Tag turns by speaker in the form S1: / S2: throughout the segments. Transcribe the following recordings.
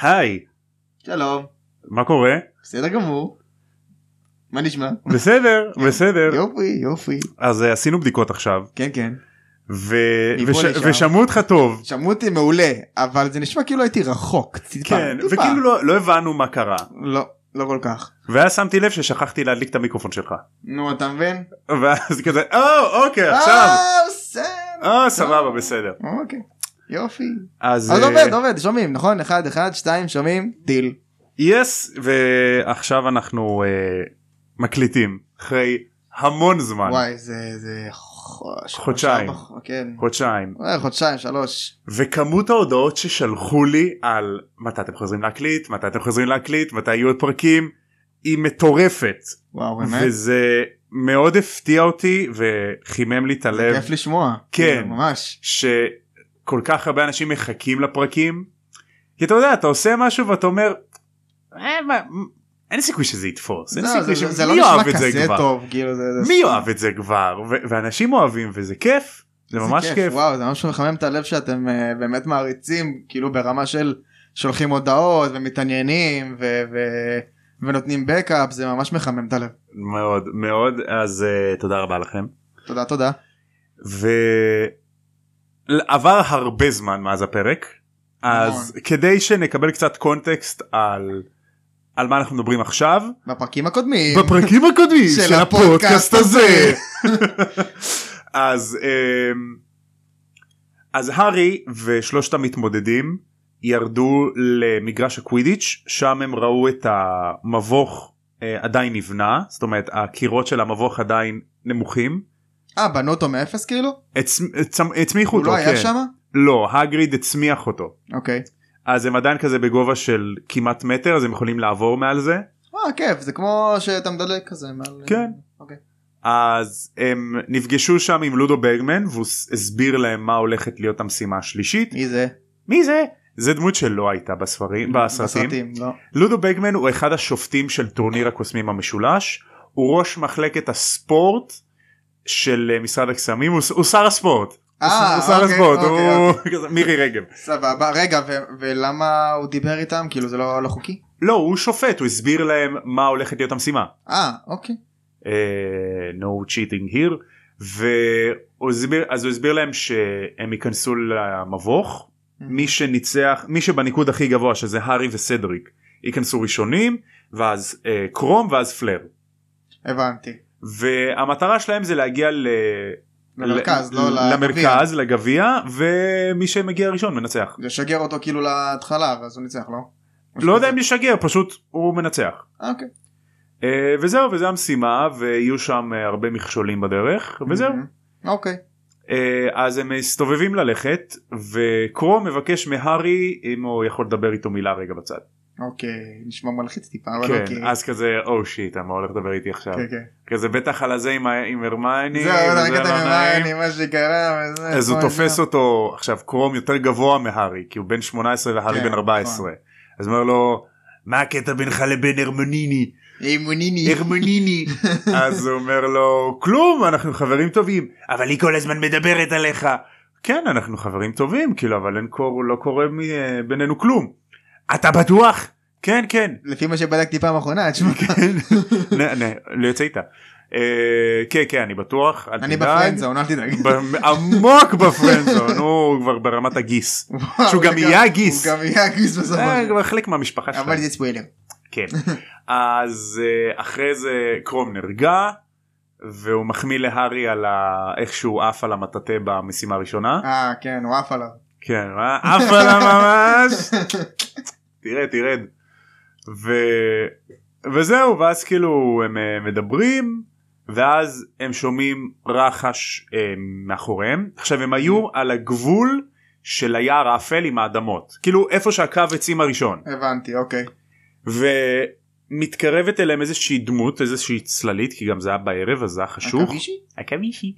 S1: היי,
S2: שלום,
S1: מה קורה?
S2: בסדר גמור. מה נשמע?
S1: בסדר, בסדר.
S2: יופי, יופי.
S1: אז אה, עשינו בדיקות עכשיו,
S2: כן, כן.
S1: ו-
S2: מפה
S1: וש-
S2: לשם.
S1: ושמעו אותך טוב.
S2: שמעו אותי מעולה, אבל זה נשמע כאילו הייתי רחוק. טיפה,
S1: כן,
S2: טיפה.
S1: וכאילו לא- לא הבנו מה קרה.
S2: לא, לא כל כך.
S1: ואז שמתי לב ששכחתי להדליק את המיקרופון שלך.
S2: נו, אתה מבין?
S1: ואז כזה, או, אוקיי, עכשיו.
S2: אה, בסדר.
S1: אה, סבבה, בסדר.
S2: אוקיי. יופי.
S1: אז
S2: אז
S1: אה,
S2: עובד, עובד, שומעים, נכון? אחד, אחד, שתיים, שומעים, דיל.
S1: יס, ועכשיו אנחנו אה, מקליטים אחרי המון זמן,
S2: וואי, זה... זה... חודש-
S1: נכון. חודשיים.
S2: שלושה, כן.
S1: חודשיים.
S2: אה, חודשיים, שלוש.
S1: וכמות ההודעות ששלחו לי על מתי אתם חוזרים להקליט מתי אתם חוזרים להקליט מתי יהיו עוד פרקים היא מטורפת
S2: וואו, באמת?
S1: וזה מאוד הפתיע אותי וחימם לי את
S2: זה
S1: הלב
S2: כיף לשמוע. כאילו,
S1: כן.
S2: ממש.
S1: שכל כך הרבה אנשים מחכים לפרקים. כי אתה יודע אתה עושה משהו ואתה אומר "אה, מה, אין סיכוי שזה יתפוס אין
S2: לא,
S1: סיכוי
S2: זה-
S1: ש-
S2: זה לא
S1: מי יאהב
S2: נשמע
S1: את זה
S2: כזה
S1: כבר
S2: טוב, כאילו זה... זה-
S1: מי יאהב את זה כבר ו- ואנשים אוהבים וזה כיף זה ממש כיף
S2: וואו זה ממש מחמם את הלב שאתם אה, באמת מעריצים כאילו ברמה של שולחים הודעות ומתעניינים ו- ו- ונותנים בקאפ זה ממש מחמם את הלב
S1: מאוד מאוד אז אה, תודה רבה לכם.
S2: תודה תודה
S1: ועבר הרבה זמן מאז הפרק אז
S2: המון.
S1: כדי שנקבל קצת קונטקסט על על מה אנחנו מדברים עכשיו
S2: בפרקים הקודמים
S1: בפרקים הקודמים
S2: כן. של
S1: של הפודקאסט
S2: הפודקאסט
S1: הזה
S2: הזה.
S1: אז אמ, אז הארי ושלושת המתמודדים ירדו למגרש הקווידיץ' שם הם ראו את המבוך אה, עדיין נבנה זאת אומרת הקירות של המבוך עדיין נמוכים
S2: אה בנו אותו מאפס כאילו
S1: הצ- הצ- הצמיחו
S2: הוא
S1: אותו
S2: לא היה
S1: כן.
S2: שם
S1: לא הגריד הצמיח אותו
S2: אוקיי
S1: אז הם עדיין כזה בגובה של כמעט מטר אז הם יכולים לעבור מעל זה
S2: אה כיף זה כמו שאתה מדלג כזה מעל
S1: כן.
S2: אוקיי.
S1: אז הם נפגשו שם עם לודו ברגמן והוא ס- הסביר להם מה הולכת להיות המשימה השלישית
S2: מי זה
S1: מי זה זה דמות שלא הייתה בספרים בסרטים
S2: בסרטים לא
S1: לודו ברגמן הוא אחד השופטים של טורניר הקוסמים המשולש הוא ראש מחלקת הספורט של אה, משרד הקסמים הוא, ס- הוא שר הספורט.
S2: אה,
S1: הוא שר
S2: אוקיי,
S1: הספורט,
S2: אוקיי,
S1: הוא כזה, מירי רגב.
S2: סבבה רגע ו- ולמה הוא דיבר איתם כאילו זה לא לא חוקי
S1: לא, הוא שופט, הוא הסביר להם מה הולכת להיות המשימה.
S2: אה אוקיי
S1: אה, no cheating here והוא הסביר אז הוא הסביר להם שהם ייכנסו למבוך מי שניצח מי שבניקוד הכי גבוה שזה הארי וסדריק ייכנסו ראשונים ואז אה, קרום ואז פלר
S2: הבנתי
S1: והמטרה שלהם זה להגיע ל...
S2: למרכז
S1: ל-
S2: לא לגביע.
S1: למרכז לגביע ומי שמגיע ראשון מנצח
S2: לשגר אותו כאילו להתחלה ואז הוא ניצח לא?
S1: לא יודע אם ישגר פשוט הוא מנצח
S2: אה, אוקיי.
S1: אה, וזהו וזה המשימה ויהיו שם אה, הרבה מכשולים בדרך וזהו
S2: Mhm. אוקיי.
S1: אה, אז הם מסתובבים ללכת וקרום מבקש מהארי אם הוא יכול לדבר איתו מילה רגע בצד.
S2: אוקיי נשמע מלחיץ טיפה אבל
S1: כן,
S2: אוקיי.
S1: אז כזה או שיט מה הולך לדבר איתי עכשיו
S2: כן, כן.
S1: כזה בטח על הזה עם ה- עם הרמייני.
S2: זהו
S1: וזה
S2: רק
S1: לא
S2: אתה
S1: נעים."
S2: ממני מה שקרה וזה.
S1: אז הוא
S2: פה,
S1: תופס
S2: זה.
S1: אותו עכשיו קרום יותר גבוה מהארי כי הוא בן 18 והארי
S2: כן,
S1: בן 14 אז הוא אומר לו מה הקטע בינך לבין הרמניני
S2: אימוניני.
S1: הרמניני אז הוא אומר לו כלום אנחנו חברים טובים אבל היא כל הזמן מדברת עליך כן אנחנו חברים טובים כאילו אבל אין קור לא קורה מ- אה, בינינו כלום אתה בטוח כן כן
S2: לפי מה שבדקתי פעם אחרונה תשמע.
S1: כן נה, נה, לא יוצא איתה אה, כן כן אני בטוח אל
S2: אני
S1: תדאג.
S2: בפרנדזון אל תדאג.
S1: ב- עמוק בפרנדזון הוא כבר ברמת הגיס
S2: וואו,
S1: שהוא
S2: זה
S1: גם יהיה הגיס.
S2: הוא גם יהיה הגיס בסוף.
S1: אה, כבר חלק מהמשפחה שלהם.
S2: נכון. אבל זה ספוילר.
S1: כן. אז אה, אחרי זה קרום נרגע והוא מחמיא להארי על ה- איך שהוא עף על המטאטא במשימה הראשונה.
S2: אה כן הוא עף עליו.
S1: כן, אה? עף עליו ממש. תראה תרד. ו... וזהו ואז כאילו הם אה, מדברים ואז הם שומעים רחש אה, מאחוריהם עכשיו הם היו על הגבול של היער האפל עם האדמות כאילו איפה שהקו עצים הראשון.
S2: הבנתי אוקיי.
S1: ומתקרבת אליהם איזושהי דמות איזושהי צללית כי גם זה היה בערב אז זה היה חשוך
S2: עכבישי?
S1: עכבישי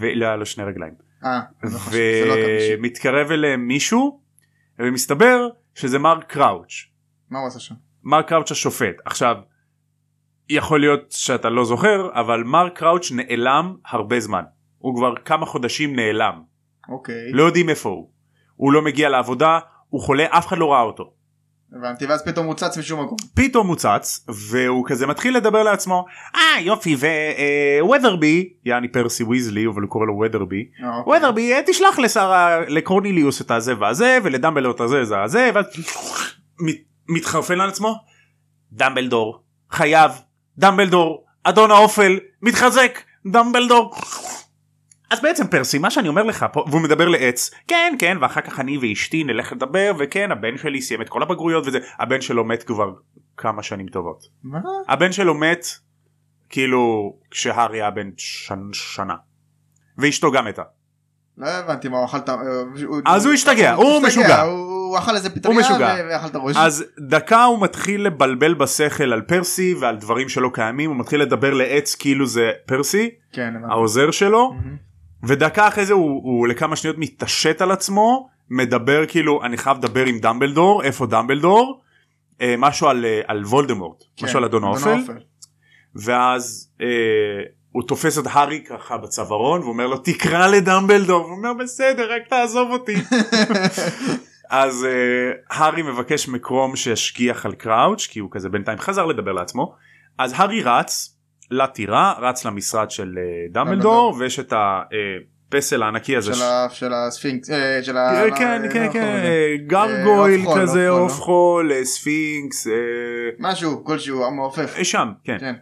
S1: ולא היה לו שני רגליים
S2: אה. אז לא חשוב, זה לא עכבישי.
S1: ומתקרב אליהם מישהו ומסתבר שזה מר קראוץ'
S2: מה הוא עשה שם?
S1: מר קראוץ' השופט עכשיו יכול להיות שאתה לא זוכר אבל מר קראוץ' נעלם הרבה זמן הוא כבר כמה חודשים נעלם
S2: אוקיי.
S1: לא יודעים איפה הוא הוא לא מגיע לעבודה הוא חולה אף אחד לא ראה אותו
S2: הבנתי, ואז פתאום מוצץ משום מקום.
S1: פתאום מוצץ והוא כזה מתחיל לדבר לעצמו אה יופי וווטרבי יעני פרסי ויזלי אבל הוא קורא לו ווטרבי
S2: אה, אוקיי.
S1: ווטרבי אה, תשלח לשר ה- לקורניליוס את הזה והזה ולדמבלדור את הזה והזה ואז מת- מתחרפן על עצמו דמבלדור חייב דמבלדור אדון האופל מתחזק דמבלדור אז בעצם פרסי מה שאני אומר לך פה והוא מדבר לעץ כן כן ואחר כך אני ואשתי נלך לדבר וכן הבן שלי סיים את כל הבגרויות וזה הבן שלו מת כבר כמה שנים טובות
S2: מה?
S1: הבן שלו מת כאילו כשהארי היה בן שנ- שנה ואשתו גם מתה
S2: לא הבנתי מה הוא אכל את ה... הוא-
S1: אז הוא השתגע, הוא משוגע.
S2: הוא הוא אכל איזה פטריה
S1: משוגע.
S2: ו- ואכל את הראש.
S1: אז דקה הוא מתחיל לבלבל בשכל על פרסי ועל דברים שלא קיימים הוא מתחיל לדבר לעץ כאילו זה פרסי
S2: כן, הבנתי.
S1: העוזר שלו
S2: מהמם.
S1: ודקה אחרי זה הוא, הוא לכמה שניות מתעשת על עצמו מדבר כאילו אני חייב לדבר עם דמבלדור איפה דמבלדור אה, משהו על, אה, על וולדמורט
S2: כן,
S1: משהו על אדון האופל ואז אה, הוא תופס את הארי ככה בצווארון ואומר לו תקרא לדמבלדור הוא אומר בסדר רק תעזוב אותי אז אה, הארי מבקש מקרום שישגיח על קראוץ' כי הוא כזה בינתיים חזר לדבר לעצמו אז הארי רץ לטירה רץ למשרד של אה, דמבלדור
S2: דמבלדור.
S1: ויש את הפסל הענקי הזה.
S2: של
S1: ש-
S2: ה- של הספינקס, אה, של ה...
S1: אה,
S2: לא,
S1: כן
S2: לא
S1: כן
S2: יכול
S1: כן
S2: להיות.
S1: אה, גרגויל
S2: עוף חול,
S1: כזה
S2: עוף חול,
S1: עוף
S2: לא?
S1: חול אה, ספינקס אה,
S2: משהו, כלשהו, המעופף.
S1: אה, שם כן
S2: כן.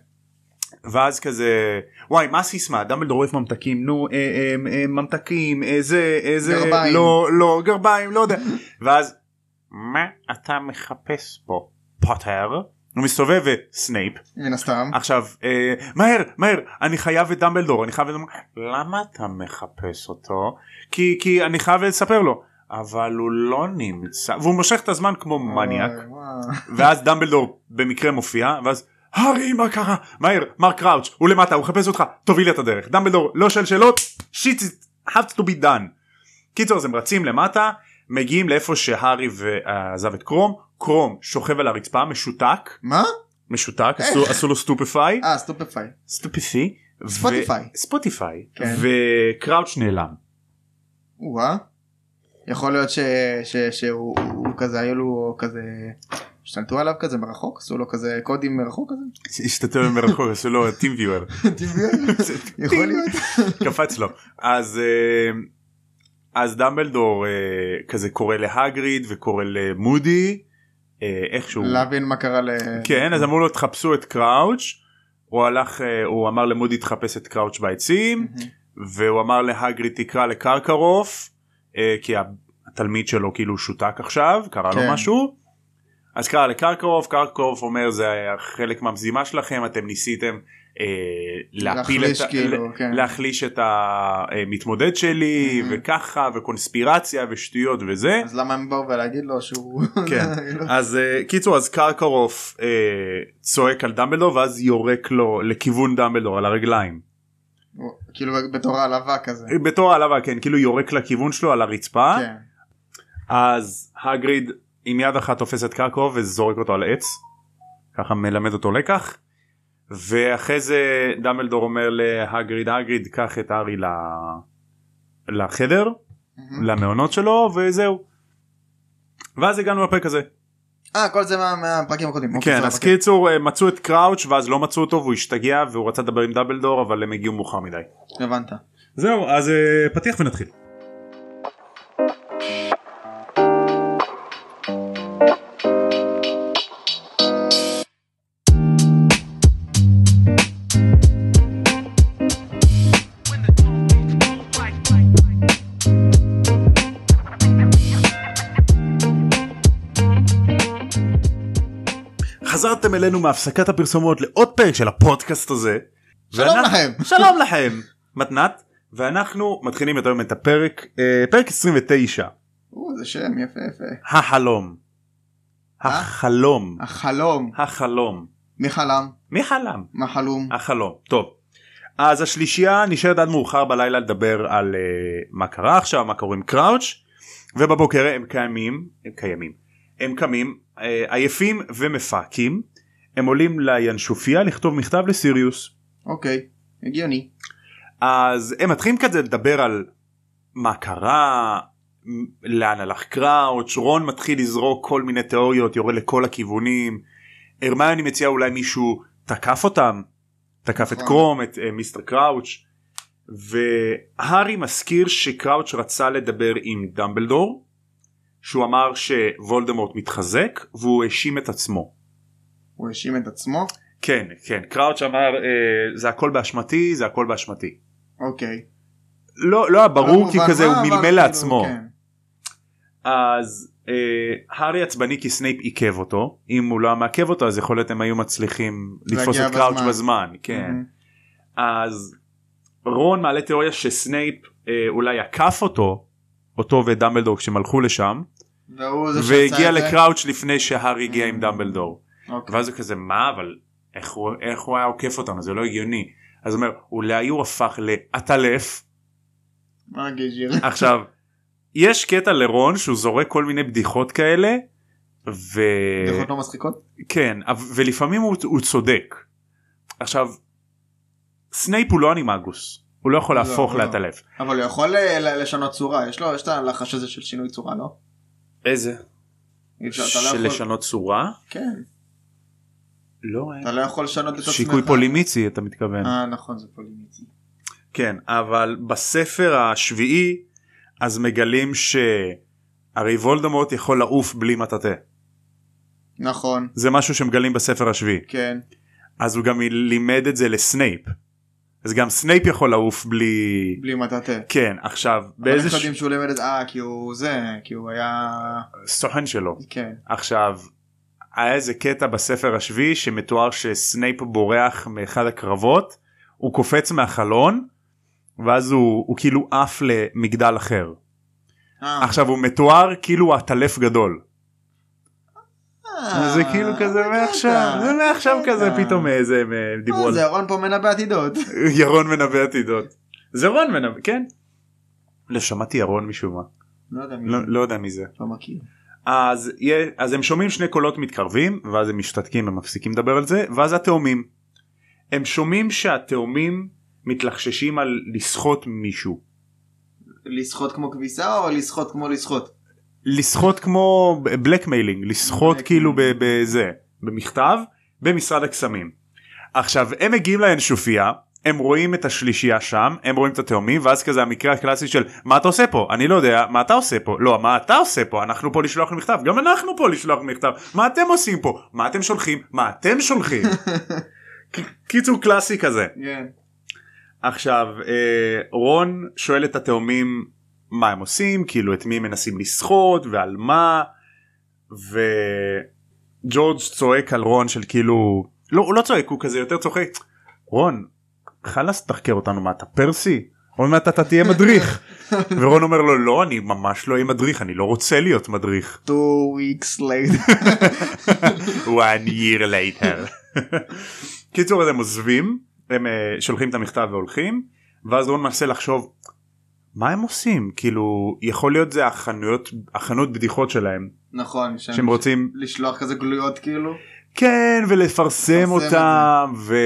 S1: ואז כזה וואי מה הסיסמה דמבלדור אוהב ממתקים נו אה, אה, אה, ממתקים אה, זה אה, זה
S2: גרביים.
S1: לא לא גרביים לא יודע ואז מה אתה מחפש פה פוטר הוא מסתובב וסנייפ
S2: מן הסתם.
S1: עכשיו אה, מהר מהר אני חייב את דמבלדור אני חייב את דמבלדור." למה אתה מחפש אותו כי כי אני חייב לספר לו אבל הוא לא נמצא והוא מושך את הזמן כמו אה, מניאק
S2: אוי, אה, וואו.
S1: ואז דמבלדור במקרה מופיע ואז הארי מה קרה מהר מר קראוץ' הוא למטה הוא מחפש אותך תוביל את הדרך דמבלדור לא שואל שאלות שיט have to be done. קיצור אז הם רצים למטה מגיעים לאיפה שהארי ועזב את קרום קרום שוכב על הרצפה משותק
S2: מה?
S1: משותק עשו, עשו לו סטופפיי
S2: אה, סטופפיי.
S1: סטופיפי
S2: ספוטיפיי.
S1: ספוטיפיי
S2: כן.
S1: וקראוץ' נעלם
S2: או-אה. יכול להיות ש- ש- שהוא הוא כזה, היו לו כזה... השתלטו עליו כזה מרחוק? עשו לו כזה קודים מרחוק כזה?
S1: הסתתר מרחוק עשו לו טים ויואר
S2: יכול להיות.
S1: קפץ לו אז אה, אז דמבלדור אה, כזה קורא להגריד וקורא למודי אה, איכשהו
S2: להבין מה קרה ל...
S1: כן אז אמרו לו תחפשו את קראוץ' הוא הלך אה, הוא אמר למודי תחפש את קראוץ' בעצים והוא אמר להגריד תקרא לקרקרוף אה, כי התלמיד שלו כאילו שותק עכשיו קרה לו
S2: כן.
S1: משהו. אז קרא לקרקרוף קרקרוף אומר זה היה חלק מהמזימה שלכם אתם ניסיתם אה, להפיל
S2: להחליש
S1: את ה-
S2: כאילו, כן.
S1: להחליש את המתמודד שלי
S2: Mhm.
S1: וככה וקונספירציה ושטויות וזה
S2: אז למה הם באו ולהגיד לו שהוא...
S1: כן. אז אה, קיצור אז קרקרוף אה, צועק על דמבלדור ואז יורק לו לכיוון דמבלדור על הרגליים
S2: הוא- כאילו בתור העלבה כזה.
S1: בתור העלבה כן כאילו יורק לכיוון שלו על הרצפה
S2: כן.
S1: אז הגריד עם יד אחת תופס את קרקרוף וזורק אותו על עץ ככה מלמד אותו לקח ואחרי זה דמבלדור אומר להגריד הגריד קח את הארי ל... לחדר
S2: מהמם.
S1: למעונות שלו וזהו. ואז הגענו לפרק הזה.
S2: אה, כל זה מה- מהפרקים הקודמים. אוקיי,
S1: כן
S2: סבבה,
S1: אז קיצור אה, מצאו את קראוץ' ואז לא מצאו אותו והוא השתגע והוא רצה לדבר עם דמבלדור אבל הם הגיעו מאוחר מדי.
S2: הבנת.
S1: זהו אז אה, פתיח ונתחיל. חזרתם אלינו מהפסקת הפרסומות לעוד פרק של הפודקאסט הזה.
S2: שלום
S1: ואנחנו-
S2: לכם.
S1: שלום לכם מתנת ואנחנו מתחילים את היום את הפרק אה, פרק 29
S2: או, זה שם יפה יפה.
S1: החלום. החלום.
S2: החלום.
S1: החלום.
S2: מי חלם?
S1: מי חלם?
S2: מה חלום?
S1: החלום. טוב. אז השלישייה נשארת עד מאוחר בלילה לדבר על אה, מה קרה עכשיו מה קורה עם קראוץ' ובבוקר הם קיימים הם קיימים הם קמים אה, עייפים ומפהקים הם עולים לינשופיה לכתוב מכתב לסיריוס
S2: אוקיי. הגיוני.
S1: אז הם מתחילים כזה לדבר על מה קרה לאן הלך קראוץ', רון מתחיל לזרוק כל מיני תיאוריות, יורד לכל הכיוונים. הרמיוני מציעה אולי מישהו תקף אותם, תקף את
S2: נכון.
S1: קרום, את אה, מיסטר קראוץ', והארי מזכיר שקראוץ' רצה לדבר עם דמבלדור, שהוא אמר שוולדמורט מתחזק והוא האשים את עצמו.
S2: הוא האשים את עצמו
S1: כן, כן, קראוץ' אמר אה, זה הכל באשמתי, זה הכל באשמתי.
S2: אוקיי.
S1: לא לא היה ברור
S2: לא
S1: כי
S2: מובן
S1: כזה
S2: מה,
S1: הוא
S2: אבל
S1: מלמל
S2: כאילו,
S1: לעצמו
S2: כן.
S1: אז אה, הארי עצבני כי סנייפ עיכב אותו אם הוא לא היה מעכב אותו אז יכול להיות הם היו מצליחים לתפוס
S2: להגיע
S1: את קראוץ'
S2: בזמן. Mm-hmm.
S1: בזמן כן אז רון מעלה תיאוריה שסנייפ אה, אולי עקף אותו אותו ודמבלדור כשהם הלכו לשם
S2: והוא זה שעשה
S1: והגיע
S2: את זה?
S1: לקראוץ' לפני שהארי הגיע עם
S2: Mm.
S1: דמבלדור
S2: אוקיי.
S1: ואז הוא כזה מה אבל איך הוא איך הוא היה עוקף אותנו זה לא הגיוני אז הוא אומר אולי הוא הפך לעטלף
S2: מה גיג'יר?
S1: עכשיו יש קטע לרון שהוא זורק כל מיני בדיחות כאלה אה.
S2: בדיחות לא מצחיקות?
S1: וכן ולפעמים הוא, הוא צודק. עכשיו סנייפ הוא לא אנימגוס הוא לא יכול
S2: לא,
S1: להפוך
S2: לא.
S1: לעטלף.
S2: אבל הוא יכול אה, ל- לשנות צורה יש לו יש את הלחש הזה של שינוי צורה לא?
S1: איזה?
S2: אי אפשר, אתה לא
S1: של
S2: יכול-
S1: לשנות צורה?
S2: כן.
S1: לא. אין.
S2: אתה לא יכול לשנות את עצמך.
S1: שיקוי פולימיצי אתה מתכוון.
S2: אה נכון זה פולימיצי.
S1: כן אבל בספר השביעי אז מגלים שהרי וולדמורט יכול לעוף בלי מטאטא
S2: נכון
S1: זה משהו שמגלים בספר השביעי.
S2: כן.
S1: אז הוא גם לימד את זה לסנייפ. אז גם סנייפ יכול לעוף בלי...
S2: בלי מטאטא.
S1: כן עכשיו
S2: באיזה...
S1: באיזה ש...
S2: יודעים שהוא לימד את אה כי הוא זה כי הוא היה
S1: סוכן שלו
S2: כן
S1: עכשיו היה איזה קטע בספר השביעי שמתואר שסנייפ בורח מאחד הקרבות הוא קופץ מהחלון ואז הוא, הוא כאילו עף למגדל אחר
S2: אה,
S1: עכשיו הוא מתואר כאילו הוא עטלף גדול
S2: אה,
S1: זה כאילו כזה
S2: קטע.
S1: מעכשיו זה מעכשיו
S2: קטע.
S1: כזה פתאום איזה הם, אה,
S2: לא אה,
S1: דיברו על
S2: זה ירון פה מנבא עתידות.
S1: ירון מנבא עתידות זה רון מנבא כן. לא שמעתי ירון משום מה
S2: לא יודע מי
S1: לא,
S2: זה,
S1: לא יודע מי זה
S2: לא מכיר.
S1: אז, יה- אז הם שומעים שני קולות מתקרבים ואז הם משתתקים הם מפסיקים לדבר על זה ואז התאומים. הם שומעים שהתאומים מתלחששים על לסחוט מישהו
S2: לסחוט כמו כביסה או לסחוט כמו לסחוט?
S1: לסחוט כמו בלקמיילינג לסחוט
S2: Blackmailing.
S1: כאילו ב- בזה במכתב במשרד הקסמים. עכשיו הם מגיעים לאנשופיה הם רואים את השלישייה שם הם רואים את התאומים ואז כזה המקרה הקלאסי של מה אתה עושה פה אני לא יודע מה אתה עושה פה לא מה אתה עושה פה אנחנו פה לשלוח מכתב גם אנחנו פה לשלוח מכתב מה אתם עושים פה מה אתם שולחים מה אתם שולחים ק- קיצור קלאסי כזה
S2: כן.
S1: עכשיו אה, רון שואל את התאומים מה הם עושים כאילו את מי הם מנסים לסחוט ועל מה וג'ורג' צועק על רון של כאילו לא הוא לא צועק הוא כזה יותר צוחק רון חלאס תחקר אותנו מה אתה פרסי עוד מעט אתה תהיה מדריך ורון אומר לו לא אני ממש לא אהיה מדריך אני לא רוצה להיות מדריך
S2: two weeks later.
S1: one year later. קיצור אז הם עוזבים הם אה, שולחים את המכתב והולכים ואז רון מנסה לחשוב מה הם עושים כאילו יכול להיות זה החנויות החנות בדיחות שלהם
S2: נכון. שהם-
S1: שהם רוצים
S2: לשלוח כזה גלויות כאילו.
S1: כן ולפרסם
S2: לפרסם
S1: אותם ו...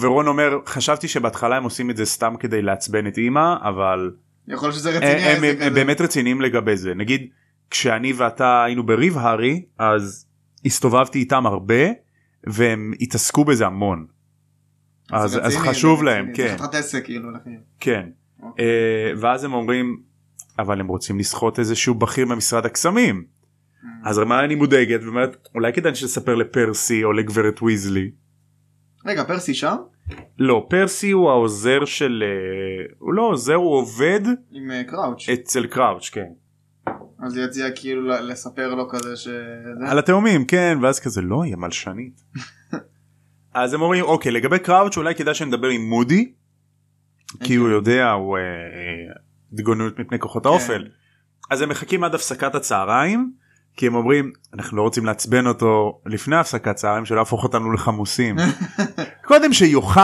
S1: ורון אומר חשבתי שבהתחלה הם עושים את זה סתם כדי לעצבן את אימא אבל
S2: יכול להיות שזה
S1: הם,
S2: רציני. אה,
S1: הם,
S2: העסק
S1: הם,
S2: הזה.
S1: הם באמת רציניים לגבי זה נגיד כשאני ואתה היינו בריב הארי אז הסתובבתי איתם הרבה והם התעסקו בזה המון.
S2: זה
S1: אה, אז, אז
S2: רציני,
S1: חשוב
S2: זה
S1: להם
S2: רציני,
S1: כן
S2: זה חתיכת עסק כאילו. לכם.
S1: כן
S2: אוקיי.
S1: אה, ואז הם אומרים אבל הם רוצים לסחוט איזשהו בכיר ממשרד הקסמים אז מה אני מודאגת ואומרת אולי כדאי שנספר לפרסי או לגברת ויזלי.
S2: רגע פרסי שם?
S1: לא פרסי הוא העוזר של אה, הוא לא עוזר הוא עובד
S2: עם אה, קראוץ'.
S1: אצל קראוץ' כן.
S2: אז יציע כאילו ל- לספר לו כזה ש... זה-
S1: על התאומים כן ואז כזה לא היא המלשנית. אז הם אומרים אוקיי לגבי קראוץ' אולי כדאי שנדבר עם מודי כי הוא
S2: אוקיי.
S1: יודע הוא אה, אה, התגוננות מפני
S2: כן.
S1: כוחות האופל אז הם מחכים עד הפסקת הצהריים כי הם אומרים אנחנו לא רוצים לעצבן אותו לפני הפסקת צהריים שלא יהפוך אותנו לחמוסים קודם שיאכל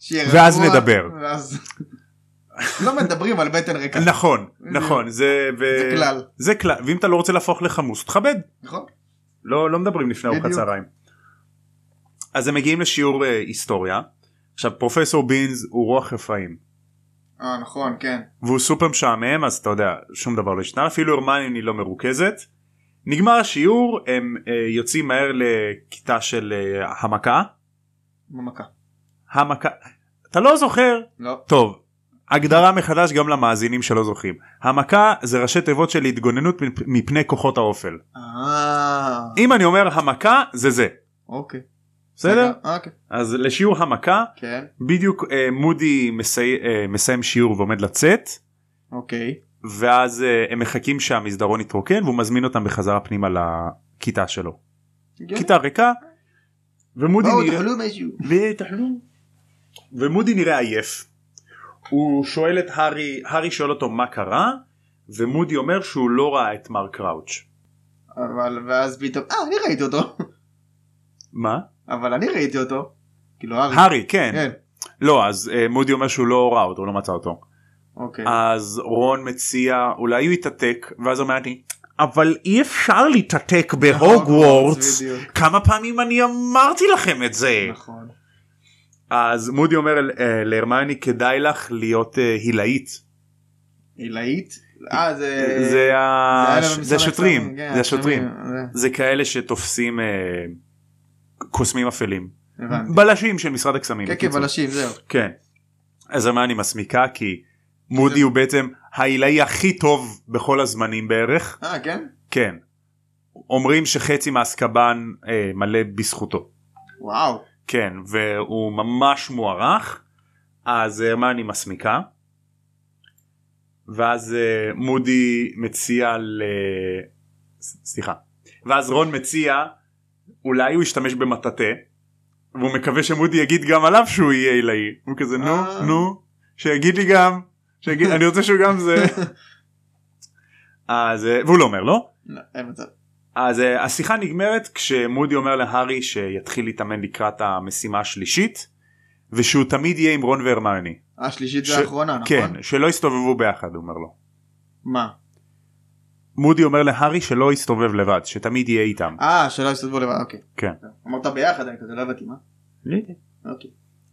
S2: שיהיה
S1: ואז
S2: רגוע,
S1: נדבר.
S2: ואז... לא מדברים על בטן ריקה.
S1: נכון נכון זה ו-
S2: כן. זה כלל.
S1: זה כלל ואם אתה לא רוצה להפוך לחמוס תכבד
S2: נכון?
S1: לא לא מדברים לפני ארוחת
S2: בדיוק.
S1: צהריים. אז הם מגיעים לשיעור אה, היסטוריה. עכשיו פרופסור בינז הוא רוח רפאים
S2: אה נכון כן.
S1: והוא סופר משעמם אז אתה יודע שום דבר לא השתנה אפילו הרמיוני לא מרוכזת. נגמר השיעור הם אה, יוצאים מהר לכיתה של אה, המכה.
S2: במכה.
S1: המכה אתה לא זוכר
S2: לא.
S1: טוב הגדרה מחדש גם למאזינים שלא זוכרים המכה זה ראשי תיבות של התגוננות מפ- מפני כוחות האופל
S2: אה.
S1: אם אני אומר המכה זה זה
S2: אוקיי.
S1: בסדר
S2: אוקיי.
S1: אז לשיעור המכה
S2: כן.
S1: בדיוק אה, מודי מסי, אה, מסיים שיעור ועומד לצאת
S2: אוקיי.
S1: ואז אה, הם מחכים שהמסדרון יתרוקן והוא מזמין אותם בחזרה פנימה לכיתה שלו. כיתה ריקה ומודי
S2: בואו
S1: נראה,
S2: תאכלו מישהו.
S1: ותאכלו. ומודי נראה עייף. הוא שואל את הארי, הארי שואל אותו מה קרה ומודי אומר שהוא לא ראה את מר קראוץ'.
S2: אבל ואז פתאום אה אני ראיתי אותו.
S1: מה?
S2: אבל אני ראיתי אותו. כאילו הארי.
S1: הארי כן.
S2: כן.
S1: לא אז אה, מודי אומר שהוא לא ראה אותו הוא לא מצא אותו.
S2: אוקיי.
S1: אה, אז רון מציע אולי הוא יתעתק ואז אמרתי אבל אי אפשר להתעתק בהוגוורטס
S2: בדיוק.
S1: כמה פעמים אני אמרתי לכם את זה
S2: נכון.
S1: אז מודי אומר אה, להרמיוני כדאי לך להיות אה, הילאית
S2: עילאית? אה זה...
S1: זה ה-
S2: היה
S1: אה, ש-
S2: במשרד
S1: זה השוטרים
S2: הקסמים, כן,
S1: זה השוטרים
S2: זה-
S1: זה כאלה שתופסים אה, קוסמים אפלים
S2: הבנתי.
S1: בלשים של משרד הקסמים
S2: כן כן
S1: בקיצור.
S2: בלשים זהו.
S1: כן אז הרמיוני מסמיקה כי מודי הוא בעצם העילאי הכי טוב בכל הזמנים בערך
S2: אה כן?
S1: כן. אומרים שחצי מאסקבן אה, מלא בזכותו.
S2: וואו.
S1: כן, והוא ממש מוערך, אז הרמני מסמיקה. ואז אה, מודי מציע ל... ס- סליחה. ואז רון מציע אולי הוא ישתמש במטאטה והוא מקווה שמודי יגיד גם עליו שהוא יהיה עילאי. הוא כזה נו
S2: אה.
S1: נו שיגיד לי גם שיגיד אני רוצה שהוא גם זה. אז אה, והוא לא אומר לא.
S2: לא, אין מצב.
S1: אז אה, השיחה נגמרת כשמודי אומר להארי שיתחיל להתאמן לקראת המשימה השלישית ושהוא תמיד יהיה עם רון והרמיוני.
S2: השלישית
S1: ש-
S2: זה האחרונה נכון?
S1: כן, שלא יסתובבו ביחד הוא אומר לו.
S2: מה?
S1: מודי אומר להארי שלא יסתובב לבד, שתמיד יהיה איתם.
S2: אה שלא יסתובבו לבד אוקיי.
S1: כן.
S2: אמרת ביחד אני כזה לא הבנתי מה? אוקיי.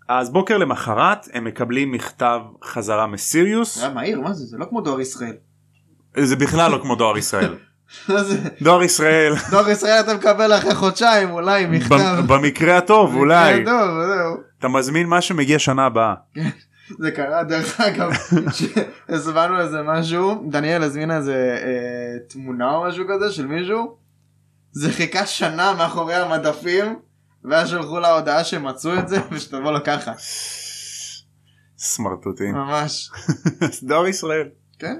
S1: אז בוקר למחרת הם מקבלים מכתב חזרה מסיריוס,
S2: זה היה מהיר מה זה? זה לא כמו דואר ישראל.
S1: זה בכלל לא כמו דואר ישראל.
S2: מה זה?
S1: דואר ישראל,
S2: דואר ישראל אתה מקבל אחרי חודשיים אולי
S1: במ-
S2: מכתב.
S1: במקרה הטוב אולי,
S2: כן, טוב, זהו.
S1: אתה מזמין מה שמגיע שנה הבאה.
S2: זה קרה דרך אגב שהזמנו איזה משהו דניאל הזמינה איזה אה, תמונה או משהו כזה של מישהו זה חיכה שנה מאחורי המדפים ואז שלחו לה הודעה שמצאו את זה ושתבוא לו ככה
S1: סמרטוטים.
S2: ממש
S1: דואר ישראל.
S2: כן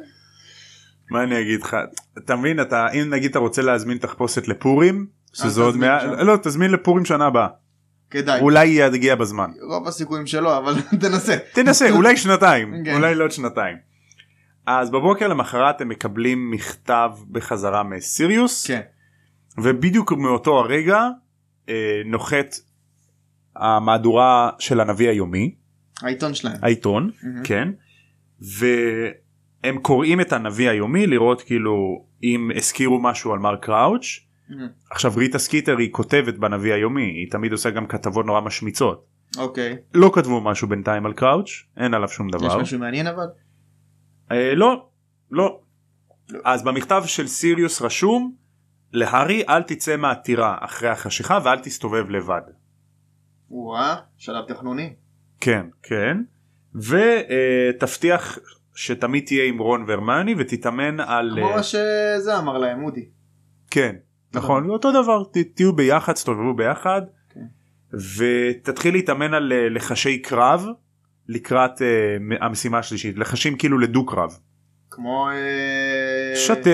S1: מה אני אגיד לך אתה מבין אתה אם נגיד אתה רוצה להזמין תחפושת לפורים שזה עוד
S2: תזמין
S1: מעט
S2: שם.
S1: לא תזמין לפורים שנה הבאה
S2: כדאי
S1: אולי יגיע בזמן
S2: רוב הסיכויים שלא אבל תנסה
S1: תנסה אולי שנתיים
S2: כן.
S1: אולי לא עוד שנתיים. אז בבוקר למחרת הם מקבלים מכתב בחזרה מסיריוס
S2: כן
S1: ובדיוק מאותו הרגע אה, נוחת המהדורה של הנביא היומי
S2: העיתון שלהם
S1: העיתון
S2: מהמם.
S1: אה, כן והם קוראים את הנביא היומי לראות כאילו אם הזכירו משהו על מר קראוץ'
S2: מהמם.
S1: עכשיו ריטה סקיטר היא כותבת בנביא היומי היא תמיד עושה גם כתבות נורא משמיצות
S2: אוקיי
S1: לא כתבו משהו בינתיים על קראוץ' אין עליו שום
S2: יש
S1: דבר
S2: משהו מעניין אבל
S1: אה, לא לא
S2: לא.
S1: אז במכתב של סיריוס רשום להארי אל תצא מהטירה אחרי החשיכה ואל תסתובב לבד
S2: וואה שלב תכנוני
S1: כן כן ותבטיח שתמיד תהיה עם רון והרמני ותתאמן על
S2: כמו
S1: אה,
S2: מה שזה אמר להם מודי
S1: כן נכון אותו דבר ת- תהיו ביחד תסתובבו ביחד
S2: כן.
S1: ותתחיל להתאמן על אה, לחשי קרב לקראת אה, מ- המשימה השלישית לחשים כאילו לדו קרב
S2: כמו אה,
S1: שתק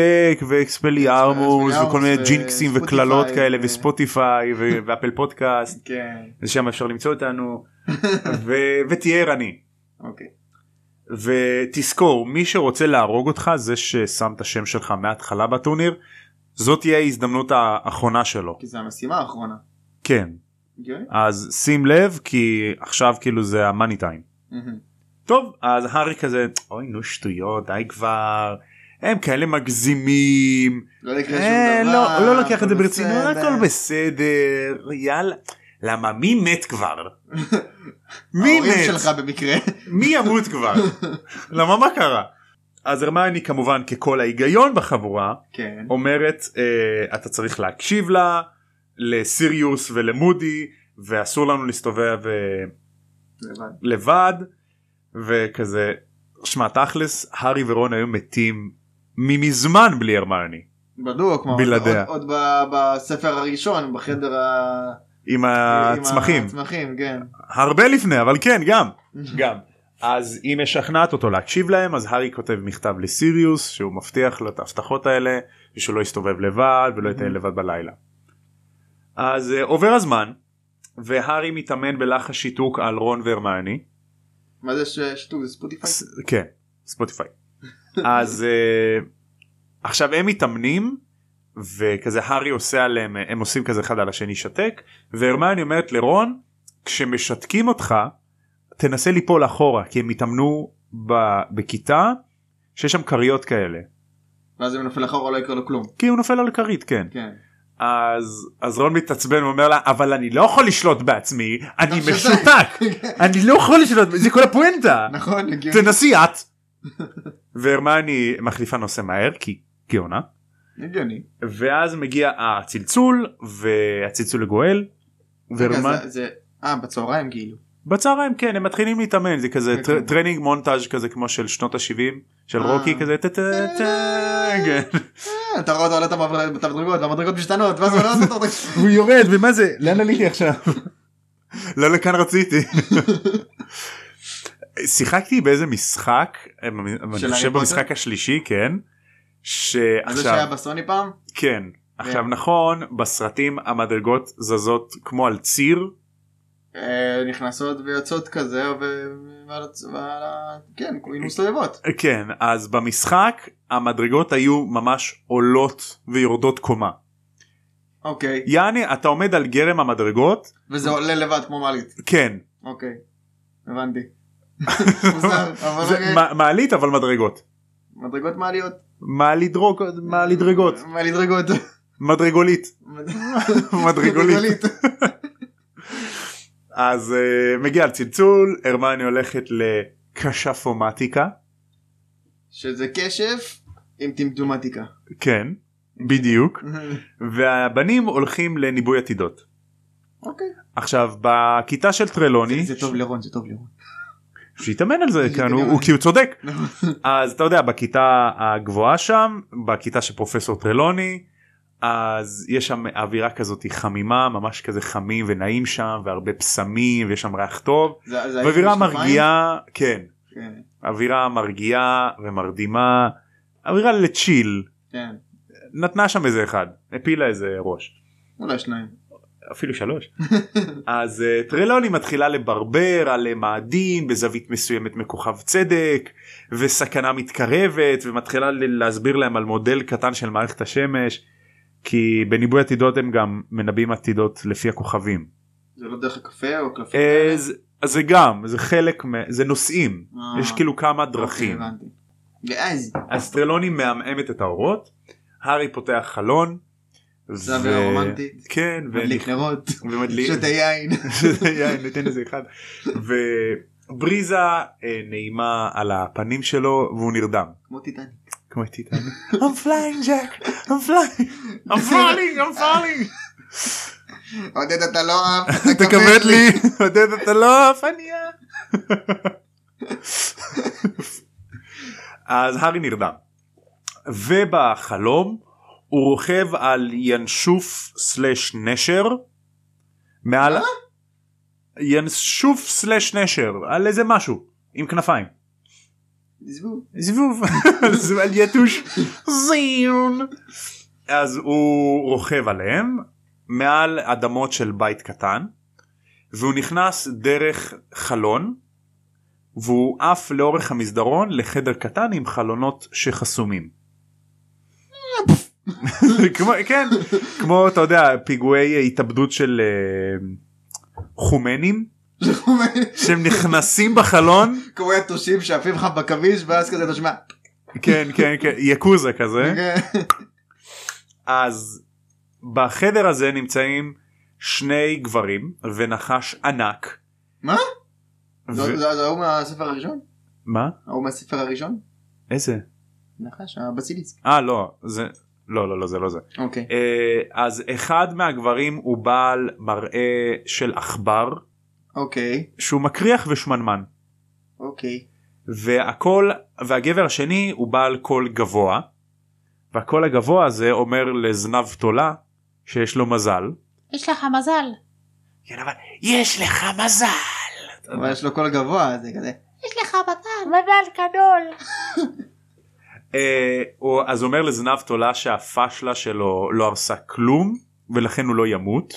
S1: ואקספליארמוס
S2: אקספליארמוס
S1: וכל מיני
S2: ו-
S1: ג'ינקסים
S2: ספוטיפיי
S1: וקללות כאלה
S2: ו-
S1: וספוטיפיי ו- ואפל פודקאסט
S2: כן
S1: ושם אפשר למצוא אותנו ו- ותהיה ערני
S2: אוקיי
S1: ותזכור מי שרוצה להרוג אותך זה ששם את השם שלך מההתחלה בטורניר זאת תהיה ההזדמנות האחרונה שלו
S2: כי זה המשימה האחרונה.
S1: כן
S2: הגיוני?
S1: אז שים לב כי עכשיו כאילו זה המאני טיים.
S2: מהמם.
S1: טוב אז הארי כזה אוי נו שטויות די כבר הם כאלה מגזימים
S2: לא יקרה שום
S1: אה,
S2: דבר.
S1: לא לא לוקח את זה
S2: הכל
S1: ברצינות
S2: בסדר.
S1: הכל בסדר יאללה למה מי מת כבר? מי
S2: ההורים
S1: מת?
S2: שלך במקרה.
S1: מי ימות כבר? למה מה קרה? אז הרמני כמובן ככל ההיגיון בחבורה
S2: כן.
S1: אומרת אה, אתה צריך להקשיב לה לסיריוס ולמודי ואסור לנו להסתובב אה,
S2: לבד.
S1: לבד וכזה שמע תכלס הארי ורון היו מתים ממזמן בלי הרמני
S2: בדוק. מה,
S1: בלעדיה.
S2: עוד, עוד ב- בספר הראשון בחדר ה...
S1: עם
S2: עם
S1: הצמחים
S2: הצמחים כן.
S1: הרבה לפני אבל כן גם גם אז היא משכנעת אותו להקשיב להם אז הארי כותב מכתב לסיריוס שהוא מבטיח לו את ההבטחות האלה ושהוא לא יסתובב לבד ולא יטייל לבד בלילה. אז אה, עובר הזמן והארי מתאמן בלחש שיתוק על רון והרמיוני
S2: מה זה ש- שטוב זה ספוטיפיי?
S1: ס- כן ספוטיפיי אז אה, עכשיו הם מתאמנים וכזה הארי עושה עליהם אה, הם עושים כזה אחד על השני שתק והרמיוני אומרת לרון כשמשתקים אותך תנסה ליפול אחורה כי הם התאמנו ב, בכיתה שיש שם כריות כאלה
S2: ואז אם נופל אחורה לא יקרה לו כלום.
S1: כי הוא נופל על כרית כן
S2: כן.
S1: אז אז רון מתעצבן ואומר לה אבל אני לא יכול לשלוט בעצמי אני
S2: אתה משותק."
S1: משותק אני לא יכול לשלוט זה כל הפואנטה
S2: נכון הגיוני.
S1: תנסי את. והרמני מחליפה נושא מהר כי גאונה
S2: הגיוני.
S1: ואז מגיע הצלצול והצלצול לגואל. והרמני
S2: רגע, זה- זה- אה בצהריים כאילו.
S1: בצהריים כן הם מתחילים להתאמן זה כזה
S2: כן,
S1: טר-
S2: כן.
S1: טרנינג מונטאז' כזה כמו של שנות ה-70 של
S2: אה.
S1: רוקי כזה טה טה טה כן.
S2: אה, אתה רואה אותו עולה את המבר- את המדרגות והמדרגות משתנות ואז הוא עולה אותו.
S1: הוא יורד ומה זה לאן עליתי עכשיו. לא לכאן רציתי. שיחקתי באיזה משחק אני
S2: של הארי
S1: חושב
S2: פוטר?
S1: במשחק השלישי כן.
S2: אז זה שהיה
S1: שעכשיו
S2: בסוני פעם?
S1: כן עכשיו נכון בסרטים המדרגות זזות כמו על ציר
S2: אה, נכנסות ויוצאות כזה ו... ועל הצ- ועל ה- כן, כאילו מסתובבות.
S1: כן אז במשחק המדרגות היו ממש עולות ויורדות קומה
S2: אוקיי.
S1: יעני אתה עומד על גרם המדרגות
S2: וזה עולה לבד כמו מעלית.
S1: כן
S2: אוקיי. הבנתי. מוזר, אבל
S1: זה
S2: אוקיי.
S1: מע- מעלית אבל מדרגות
S2: מדרגות מעליות.
S1: מעלית דרוג מעלית דרגות
S2: מעלית דרגות.
S1: מדרגולית מדרגולית
S2: מדרגולית.
S1: אז אה, מגיע הצלצול הרמני הולכת לקשפומטיקה
S2: שזה קשף עם טמטומטיקה.
S1: כן בדיוק והבנים הולכים לניבוי עתידות.
S2: אוקיי.
S1: עכשיו בכיתה של טרלוני
S2: זה טוב לרון, זה טוב לרון.
S1: שיתאמן על זה
S2: זה נכון.
S1: כאן הוא,
S2: בדיוק.
S1: הוא כי הוא צודק אז אתה יודע בכיתה הגבוהה שם בכיתה של פרופסור טרלוני אז יש שם אווירה כזאת חמימה ממש כזה חמים ונעים שם והרבה פסמים ויש שם ריח טוב
S2: זה- זה האיש
S1: ואווירה
S2: משקפיים?
S1: מרגיעה כן
S2: כן,
S1: אווירה מרגיעה ומרדימה אווירה לצ'יל
S2: כן.
S1: נתנה שם איזה אחד הפילה איזה ראש.
S2: אולי שניים.
S1: אפילו שלוש. אז אה, טרלוני מתחילה לברבר על אה, מאדים בזווית מסוימת מכוכב צדק וסכנה מתקרבת ומתחילה ל- להסביר להם על מודל קטן של מערכת השמש כי בניבוי עתידות הם גם מנבאים עתידות לפי הכוכבים.
S2: זה לא דרך הקפה או קלפים?
S1: אה, זה- אז זה גם זה חלק מ- זה נושאים
S2: אה,
S1: יש כאילו כמה
S2: אוקיי,
S1: דרכים
S2: הבנתי. ואז
S1: אז טרלוני מעמעמת את האורות הארי פותח חלון.
S2: זה
S1: ו-
S2: אווירה רומנטית.
S1: כן
S2: מדליק נרות.
S1: ומדליק
S2: שותה יין.
S1: שזה יין ניתן לזה אחד ובריזה אה, נעימה על הפנים שלו והוא נרדם.
S2: כמו טיטניק.
S1: כמו טיטניק. I'm flying Jack, I'm flying, I'm falling, I'm falling.
S2: עודד אתה לא אהב. אתה
S1: תכבד לי, עודד אתה לא עפניה. אז הארי נרדם. ובחלום הוא רוכב על ינשוף סלש נשר. מעל... ינשוף סלש נשר, על איזה משהו, עם כנפיים.
S2: עזבו.
S1: זבוב, זבוב על יתוש, זיון. אז הוא רוכב עליהם מעל אדמות של בית קטן והוא נכנס דרך חלון והוא עף לאורך המסדרון לחדר קטן עם חלונות שחסומים. כמו, כן, כמו אתה יודע פיגועי התאבדות של אה, חומנים שהם נכנסים בחלון
S2: כמו יתושים שעפים לך בכביש ואז כזה אתה שומע. כן.
S1: כן כן כן יקוזה כזה. אז בחדר הזה נמצאים שני גברים ונחש ענק.
S2: מה? לא,
S1: ו...
S2: זה זה- זה ההוא מהספר הראשון?
S1: מה?
S2: ההוא מהספר הראשון?
S1: איזה?
S2: נחש, הבסיליסק.
S1: אה לא זה לא לא לא זה לא זה.
S2: אוקיי.
S1: אה, אז אחד מהגברים הוא בעל מראה של עכבר
S2: אוקיי.
S1: שהוא מקריח ושמנמן
S2: אוקיי.
S1: והכל והגבר השני הוא בעל קול גבוה והקול הגבוה הזה אומר לזנב תולה שיש לו מזל.
S3: יש לך מזל.
S1: כן אבל יש לך מזל.
S2: אבל יש לו קול גבוה זה כזה.
S3: יש לך מזל. מזל גדול.
S1: אה, הוא- אז אומר לזנב תולה שהפשלה שלו לא הרסה כלום ולכן הוא לא ימות.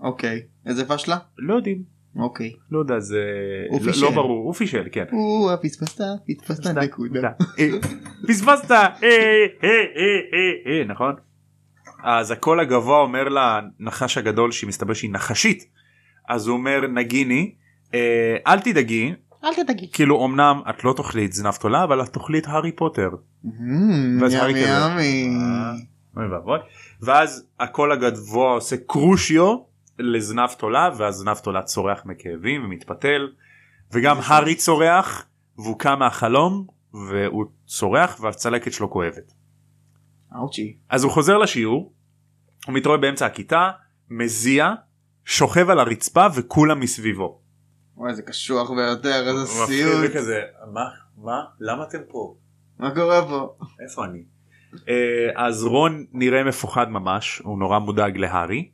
S2: אוקיי. איזה פשלה?
S1: לא יודעים.
S2: אוקיי.
S1: לא יודע זה
S2: הוא
S1: לא-
S2: פישל.
S1: לא ברור הוא פישל כן.
S2: או, פספסת, פספסת נקודה.
S1: אה, פספסת אה, אה, אה, אה, אה, נכון אז הקול הגבוה אומר לנחש הגדול שמסתבר שהיא נחשית אז הוא אומר נגיני אה, אל תדאגי
S3: אל תדאגי.
S1: כאילו אמנם את לא תאכלי את זנב תולה אבל את תאכלי את הארי פוטר.
S2: אמ,
S1: ואז
S2: ימי
S1: הארי כזה.
S2: ימי.
S1: אה. אוי ואבוי. ואז הקול הגבוה עושה קרושיו לזנב תולה ואז זנב תולה צורח מכאבים ומתפתל וגם הארי צורח והוא קם מהחלום והוא צורח והצלקת שלו כואבת. אה.
S2: אאוצ'י.
S1: אז הוא חוזר לשיעור, הוא מתעורר באמצע הכיתה, מזיע, שוכב על הרצפה וכולם מסביבו.
S2: וואי זה קשוח ביותר איזה
S1: הוא מפחיד
S2: סיוט.
S1: וכזה, מה? מה? למה אתם פה?
S2: מה קורה פה?
S1: איפה אני? אה, אז רון נראה מפוחד ממש, הוא נורא מודאג להארי,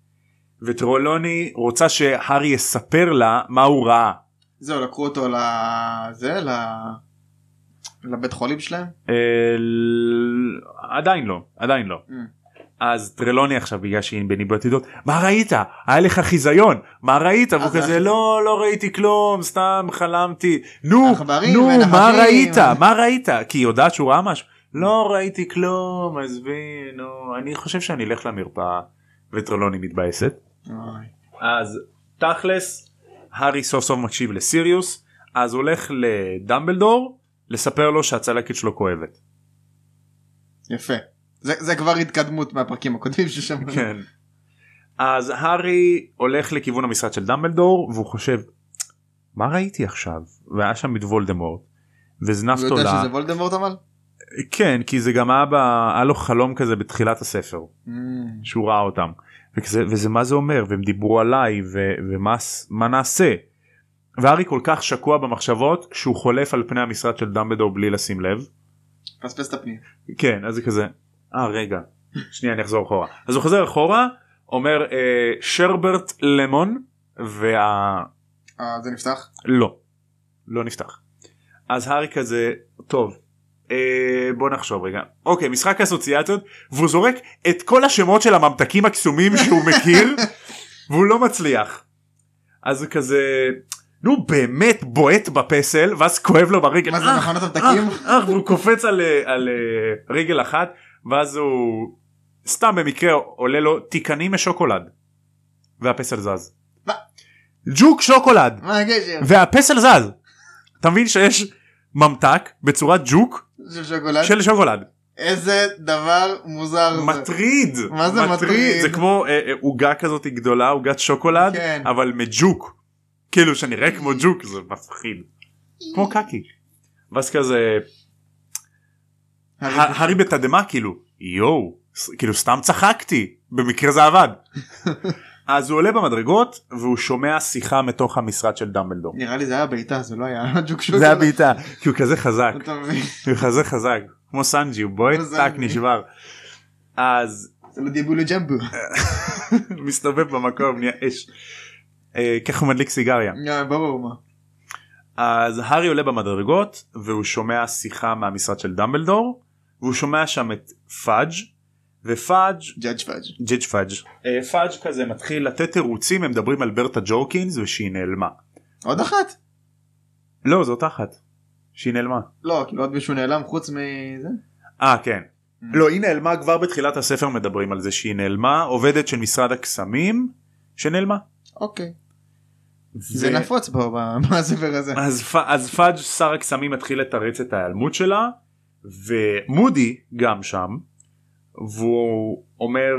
S1: וטרולוני רוצה שהארי יספר לה מה הוא ראה.
S2: זהו לקחו אותו לזה ל... לבית חולים שלהם.
S1: אה, ל- עדיין לא, עדיין לא.
S2: אמ.
S1: אז טרלוני עכשיו בגלל שהיא בניבוי עתידות מה ראית היה לך חיזיון מה ראית והוא
S2: זה
S1: כזה
S2: היה-
S1: לא לא ראיתי כלום סתם חלמתי נו
S2: עכברים,
S1: נו
S2: אין
S1: מה
S2: עכברים."
S1: ראית מה ראית כי היא יודעת שהוא ראה משהו לא ראיתי כלום עזבי נו אני חושב שאני אלך למרפאה וטרלוני מתבאסת
S2: אוי.
S1: אז תכלס הארי סוף סוף מקשיב לסיריוס אז הוא הולך לדמבלדור לספר לו שהצלקת שלו כואבת.
S2: יפה. זה זה כבר התקדמות מהפרקים הקודמים ששם.
S1: כן. אז הארי הולך לכיוון המשרד של דמבלדור והוא חושב מה ראיתי עכשיו והיה שם את וולדמורט וזנב
S2: הוא יודע
S1: תולה
S2: שזה וולדמורט אבל?
S1: כן כי זה גם היה, ב... היה לו חלום כזה בתחילת הספר
S2: אמ,
S1: שהוא ראה אותם וזה, וזה מה זה אומר והם דיברו עליי ו... ומה ס- מה נעשה. והארי כל כך שקוע במחשבות שהוא חולף על פני המשרד של דמבלדור בלי לשים לב.
S2: פספס את הפנים.
S1: כן אז זה כזה אה רגע שנייה אני אחזור אחורה אז הוא חוזר אחורה אומר אה, שרברט למון וה...
S2: אה, זה נפתח?
S1: לא לא נפתח אז הארי כזה טוב אה, בוא נחשוב רגע אוקיי משחק אסוציאציות והוא זורק את כל השמות של הממתקים הקסומים שהוא מכיר והוא לא מצליח אז הוא כזה נו באמת בועט בפסל ואז כואב לו ברגל
S2: מה זה נכון,
S1: "אה,
S2: מכונת המתקים?
S1: אך, אך, והוא קופץ על, אה, על אה, רגל אחת ואז הוא סתם במקרה עולה לו תיקנים משוקולד והפסל זז.
S2: מה?
S1: ג'וק שוקולד
S2: מה הקשר?
S1: והפסל זז. אתה מבין שיש ממתק בצורת ג'וק
S2: של שוקולד?
S1: של שוקולד
S2: איזה דבר מוזר זה.
S1: מטריד
S2: מה זה מטריד?
S1: זה כמו אה, אה, עוגה כזאת גדולה עוגת שוקולד
S2: כן.
S1: אבל מג'וק כאילו שנראה כמו ג'וק זה מפחיד כמו קקי. ואז כזה
S2: הרי-
S1: הארי בתדהמה כאילו יואו ס- כאילו סתם צחקתי במקרה זה עבד. אז הוא עולה במדרגות והוא שומע שיחה מתוך המשרד של דמבלדור.
S2: נראה לי זה היה בעיטה זה לא היה ג'וק שוקולד.
S1: זה הבעיטה כי הוא כזה חזק
S2: אתה מבין?
S1: הוא כזה חזק כמו סנג'י הוא בועט
S2: כמו
S1: טאק
S2: סנג'י.
S1: נשבר. אז
S2: זה לא דיבו לג'מבו.
S1: מסתובב במקום נהיה אש. אה, ככה הוא מדליק סיגריה.
S2: אה, ברור מה.
S1: אז הארי עולה במדרגות והוא שומע שיחה מהמשרד של דמבלדור והוא שומע שם את פאג' ופאג'
S2: ג'אג' פאג'.
S1: ג'יג' פאג'. אה, פאג' כזה מתחיל לתת תירוצים הם מדברים על ברטה ג'ורקינס ושהיא נעלמה.
S2: עוד אחת?
S1: לא זאת אחת. שהיא נעלמה.
S2: לא כאילו עוד מישהו נעלם חוץ מזה?
S1: אה כן. לא היא נעלמה כבר בתחילת הספר מדברים על זה שהיא נעלמה עובדת של משרד הקסמים שנעלמה.
S2: אוקיי.
S1: ו-
S2: זה נכון. נפוץ פה ב- בספר הזה.
S1: אז, פ... אז פאג' שר הקסמים מתחיל לתרץ את ההיעלמות שלה ומודי גם שם והוא אומר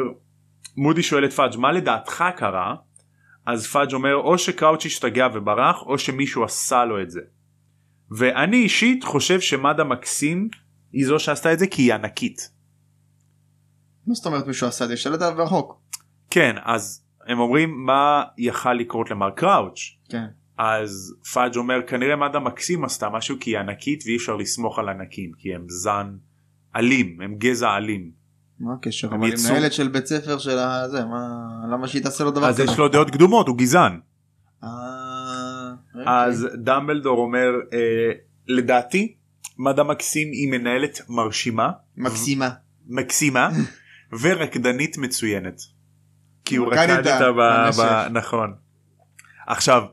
S1: מודי שואל את פאג' מה לדעתך קרה אז פאג' אומר או שקראוץ' השתגע וברח או שמישהו עשה לו את זה. ואני אישית חושב שמדה מקסים היא זו שעשתה את זה כי היא ענקית.
S2: מה זאת אומרת מישהו עשה את זה? שלט עליו רחוק.
S1: כן אז הם אומרים מה יכל לקרות למר קראוץ'
S2: כן.
S1: אז פאג' אומר כנראה מדה מקסים עשתה משהו כי היא ענקית ואי אפשר לסמוך על ענקים כי הם זן אלים הם גזע אלים
S2: מה הקשר?
S1: הם
S2: אבל היא
S1: יצאו.
S2: מנהלת של בית ספר של הזה, מה... למה שהיא תעשה לו דבר
S1: אז
S2: כזה?
S1: יש לו דעות קדומות הוא גזען
S2: אה, אוקיי.
S1: אז דמבלדור אומר אה, לדעתי מדה מקסים היא מנהלת מרשימה
S2: מקסימה.
S1: מקסימה ורקדנית מצוינת. כי הוא
S2: רקד
S1: רקד
S2: איתה
S1: איתה ב...
S2: במשך.
S1: ב... נכון. עכשיו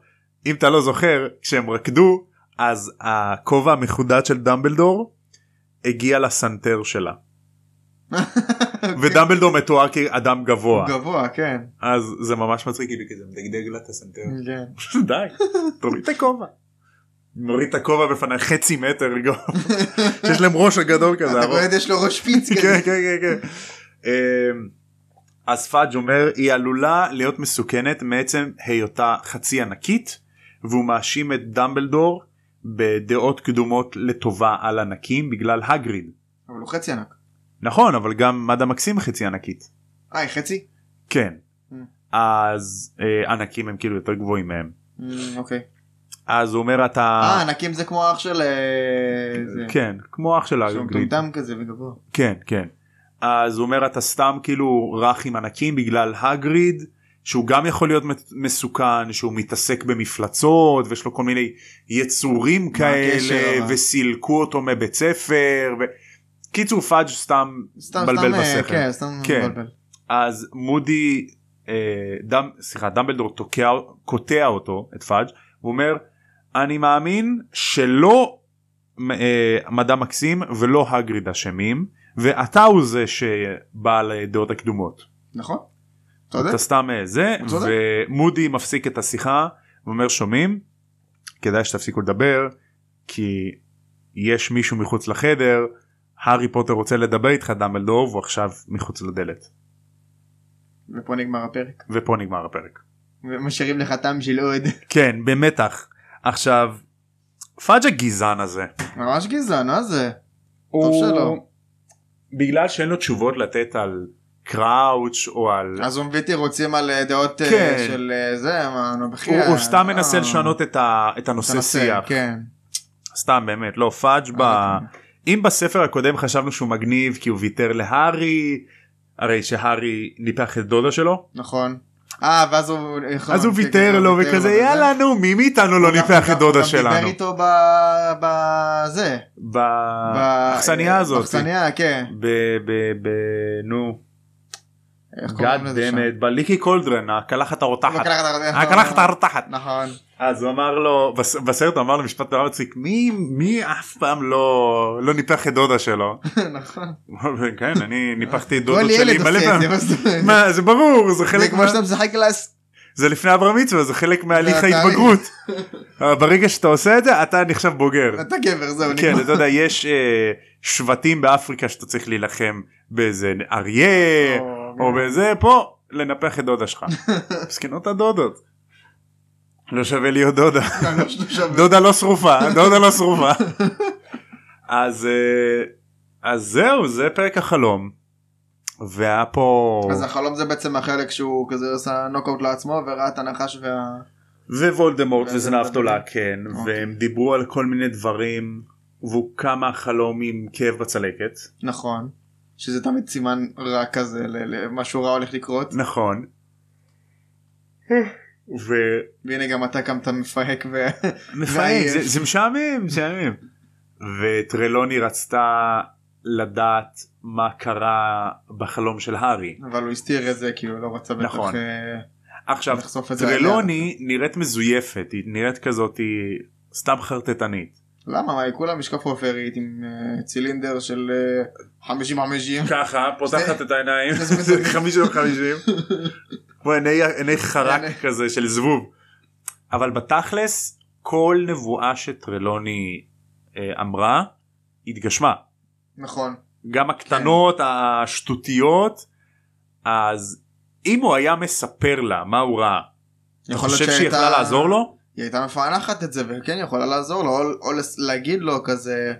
S1: אם אתה לא זוכר כשהם רקדו אז הכובע המחודד של דמבלדור הגיע לסנטר שלה
S2: אוקיי.
S1: ודמבלדור מתואר כאדם גבוה
S2: גבוה, כן.
S1: אז זה ממש מצחיק כאילו כי זה מדגדג לה את הסנטר.
S2: כן.
S1: די תוריד את הכובע. מוריד את הכובע בפני חצי מטר גובה. שיש להם ראש הגדול כזה.
S2: אתה
S1: ארוך.
S2: רואה את זה, יש לו ראש פיץ
S1: כן
S2: כזה.
S1: כן כן כן. אמ, אז פאג' אומר היא עלולה להיות מסוכנת מעצם היותה חצי ענקית והוא מאשים את דמבלדור בדעות קדומות לטובה על ענקים בגלל הגריד.
S2: אבל הוא חצי ענק.
S1: נכון אבל גם מדה מקסים חצי ענקית.
S2: אה, היא חצי?
S1: כן.
S2: Mm.
S1: אז אה, ענקים הם כאילו יותר גבוהים מהם.
S2: אמ, אוקיי.
S1: אז הוא אומר אתה
S2: אה, ענקים זה כמו אח של... אה, זה.
S1: כן כמו אח של
S2: שהוא
S1: הגריד.
S2: מטומטם כזה וגבוה.
S1: כן כן אז הוא אומר אתה סתם כאילו רך עם ענקים בגלל הגריד שהוא גם יכול להיות מט- מסוכן שהוא מתעסק במפלצות ויש לו כל מיני יצורים
S2: הקשר,
S1: כאלה
S2: אבל?
S1: וסילקו אותו מבית ספר וקיצור פאג' סתם
S2: סתם,
S1: בלבל
S2: סתם, אה,
S1: בשכל.
S2: כן, סתם
S1: כן.
S2: בלבל.
S1: אז מודי אה, דם סליחה דמבלדור תוקע קוטע אותו את פאג' הוא אומר אני מאמין שלא אה, מדע מקסים ולא הגריד אשמים ואתה הוא זה שבעל הדעות הקדומות
S2: נכון? אתה יודע?
S1: אתה סתם אה, זה
S2: הוא צודק.
S1: ומודי מפסיק את השיחה ואומר שומעים כדאי שתפסיקו לדבר כי יש מישהו מחוץ לחדר הארי פוטר רוצה לדבר איתך דמבלדור והוא עכשיו מחוץ לדלת
S2: ופה נגמר הפרק.
S1: ופה נגמר הפרק.
S2: ומשאירים לך טעם של עוד.
S1: כן במתח עכשיו פאג' הגזען הזה
S2: ממש גזען,
S1: אה,
S2: מה זה? טוב שלא.
S1: בגלל שאין לו תשובות לתת על קראוץ' או על
S2: אז אומביטי רוצים על אה, דעות אה,
S1: כן.
S2: של אה, זה, מה, נו
S1: הוא,
S2: בחייאת.
S1: הוא סתם מנסה
S2: אה,
S1: לשנות את, ה, את
S2: את
S1: הנושא
S2: הנושא,
S1: שיח
S2: כן. אה,
S1: סתם באמת לא פאג' ב... אם בספר הקודם חשבנו שהוא מגניב כי הוא ויתר להארי הרי שהארי ניפח את דודה שלו
S2: נכון. אה, ואז הוא...
S1: אז הוא
S2: כן,
S1: ויתר
S2: כן,
S1: לו וכזה
S2: וזה.
S1: יאללה נו מי מאיתנו
S2: הוא
S1: לא
S2: גם-
S1: ניפח
S2: הוא
S1: את
S2: גם-
S1: דודה
S2: הוא גם
S1: שלנו
S2: דיבר איתו ב- בזה. ב-
S1: באכסניה
S2: אה,
S1: הזאת
S2: באכסניה, כן.
S1: ב... ב... ב... נו
S2: איך
S1: גאד
S2: קוראים לזה שם?
S1: דמת בליקי קולדרן הקלחת הרותחת
S2: בקלחת הרותחת.
S1: הקלחת הרותחת
S2: נכון.
S1: אז הוא אמר לו בס- בסרט הוא אמר לו משפט דבר מצחיק מי מי אף פעם לא לא ניפח את דודה שלו
S2: נכון.
S1: כן אני ניפחתי את
S2: כל
S1: דודות שלי
S2: ילד
S1: מלא
S2: עושה את זה,
S1: פעמים
S2: מה זאת אומרת?
S1: מה זה ברור זה
S2: זה
S1: חלק
S2: כמו
S1: מה-
S2: שאתה משחק קלאס.
S1: זה לפני הבר מצווה זה חלק מהליך
S2: התהליך.
S1: ההתבגרות אבל ברגע שאתה עושה את זה אתה נחשב בוגר
S2: אתה גבר, זהו.
S1: כן
S2: נגמר.
S1: אתה יודע יש אה, שבטים באפריקה שאתה צריך להילחם באיזה אריה אה, או
S2: אוקיי.
S1: בזה פה לנפח את דודה שלך. מסכנות הדודות. לא שווה להיות דודה.
S2: כן, לא שלושה בנים.
S1: דודה לא שרופה דודה לא שרופה. אז אה, אז זהו זה פרק החלום. והיה פה
S2: אז החלום זה בעצם החלק שהוא כזה עושה נוקאוט לעצמו וראה את הנחש וה...
S1: ווולדמורט
S2: וזה
S1: וזנב
S2: מדבר.
S1: תולה כן
S2: אוקיי.
S1: והם דיברו על כל מיני דברים והוא קם מהחלום עם כאב בצלקת
S2: נכון. שזה תמיד סימן רע כזה ל- למשהו רע הולך לקרות
S1: נכון.
S2: אה.
S1: ו-
S2: והנה גם אתה קמת מפהק ו...
S1: מפהק, זה- זה משעמם משעמם וטרלוני רצתה לדעת מה קרה בחלום של הארי
S2: אבל הוא הסתיר את זה כי הוא לא רצה בטח
S1: נכון.
S2: אה,
S1: עכשיו לא
S2: לחשוף את זה. עליה.
S1: טרלוני נראית מזויפת היא נראית כזאת היא סתם חרטטנית
S2: למה? מה, היא כולה משקף עופרית עם אה, צילינדר של אה, 50 חמישים.
S1: ככה פותחת את העיניים
S2: זה- זה- זה-
S1: חמישים על חמישים כמו עיני עיני חרק
S2: עיני-
S1: כזה של זבוב אבל בתכלס כל נבואה שטרלוני אה, אמרה התגשמה
S2: נכון.
S1: כן. גם הקטנות השטותיות אז אם הוא היה מספר לה מה הוא ראה, אתה
S2: יכול להיות
S1: חושב שהיא
S2: שהייתה-
S1: יכלה לעזור לו?
S2: היא הייתה מפענחת את זה וכן יכולה לעזור לו או, או לס- להגיד לו כזה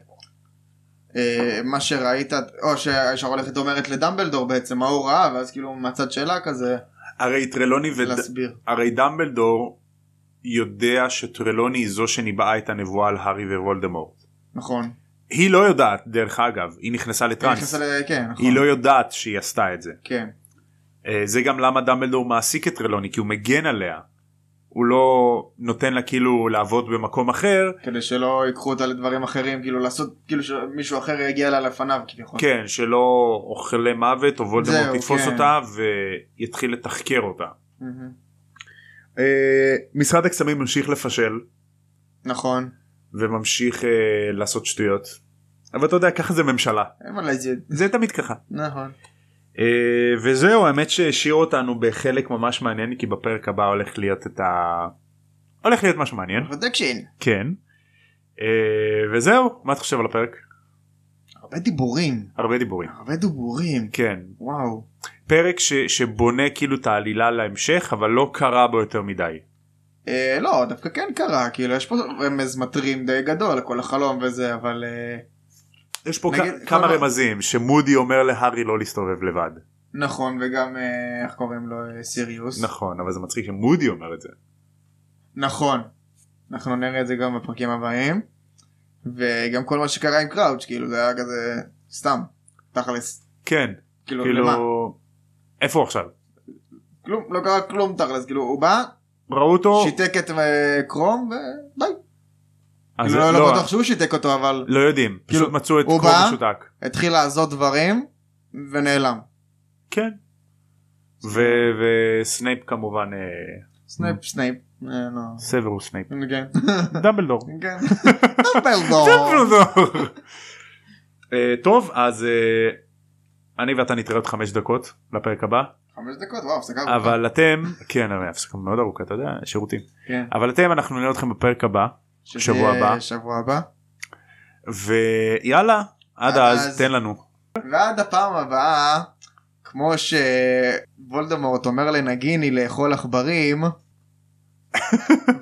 S2: אה, מה שראית או שהאישה הולכת ואומרת לדמבלדור בעצם מה הוא ראה ואז כאילו מהצד שלה כזה
S1: הרי טרלוני וד...
S2: להסביר.
S1: הרי דמבלדור יודע שטרלוני היא זו שניבאה את הנבואה על הארי ווולדמורט.
S2: נכון.
S1: היא לא יודעת דרך אגב היא נכנסה
S2: היא
S1: לטראנס
S2: נכנסה ל... כן נכון.
S1: היא לא יודעת שהיא עשתה את זה
S2: כן.
S1: אה, זה גם למה דמבלדור מעסיק את טרלוני כי הוא מגן עליה. הוא לא נותן לה כאילו לעבוד במקום אחר
S2: כדי שלא ייקחו אותה לדברים אחרים כאילו לעשות כאילו שמישהו אחר יגיע לה לפניו כביכול.
S1: כן שלא אוכלי מוות או וולדמורט
S2: זהו,
S1: יתפוס
S2: כן.
S1: אותה ויתחיל לתחקר אותה.
S2: מהמם.
S1: אה, משרד הקסמים ממשיך לפשל
S2: נכון.
S1: וממשיך אה, לעשות שטויות. אבל אתה יודע ככה זה ממשלה
S2: אין מה להגיד.
S1: זה תמיד ככה.
S2: נכון.
S1: אה, וזהו האמת שהשאיר אותנו בחלק ממש מעניין כי בפרק הבא הולך להיות את ה... הולך להיות משהו מעניין
S2: פרוטקשן.
S1: כן אה, וזהו מה אתה חושב על הפרק
S2: הרבה דיבורים.
S1: הרבה דיבורים
S2: הרבה דיבורים.
S1: כן
S2: וואו.
S1: פרק ש... שבונה כאילו את העלילה להמשך אבל לא קרה בו יותר מדי
S2: אה, לא דווקא כן קרה כאילו יש פה רמז מטרים די גדול לכל החלום וזה אבל אה,
S1: יש פה
S2: נגיד,
S1: כ... כמה
S2: כלומר-
S1: רמזים שמודי אומר להארי לא להסתובב לבד
S2: נכון וגם אה, איך קוראים לו אה, סיריוס
S1: נכון אבל זה מצחיק שמודי אומר את זה
S2: נכון אנחנו נראה את זה גם בפרקים הבאים וגם כל מה שקרה עם קראוץ' כאילו זה היה כזה סתם תכלס
S1: כן
S2: כאילו,
S1: כאילו
S2: למה
S1: איפה הוא עכשיו
S2: כלום לא קרה כלום תכלס כאילו הוא בא
S1: ראו אותו
S2: שיתק את אה, קרום וביי
S1: אז
S2: כאילו, לא, לא בטוח שהוא שיתק אותו אבל
S1: לא יודעים פשוט
S2: כאילו,
S1: מצאו את
S2: הוא
S1: קרוב
S2: בא?
S1: משותק.
S2: התחיל לעשות דברים ונעלם
S1: כן. ו- וסנייפ כמובן אה,
S2: סנייפ סנייפ אה, לא.
S1: סוורוס סנייפ
S2: כן.
S1: דמבלדור.
S2: כן. דמבלדור.
S1: דמבלדור. אה, טוב אז אה, אני ואתה נתראה עוד חמש דקות לפרק הבא
S2: חמש דקות וואו הפסקה ארוכה.
S1: אבל אתם כן אבל הפסקה מאוד ארוכה אתה יודע שירותים
S2: כן.
S1: אבל אתם אנחנו נראה אתכם בפרק הבא
S2: שזה
S1: שבוע הבא.
S2: שבוע הבא.
S1: ויאללה עד
S2: עד
S1: אז
S2: אז.
S1: תן לנו
S2: ועד הפעם הבאה כמו שוולדמורט אומר לנגיני לאכול עכברים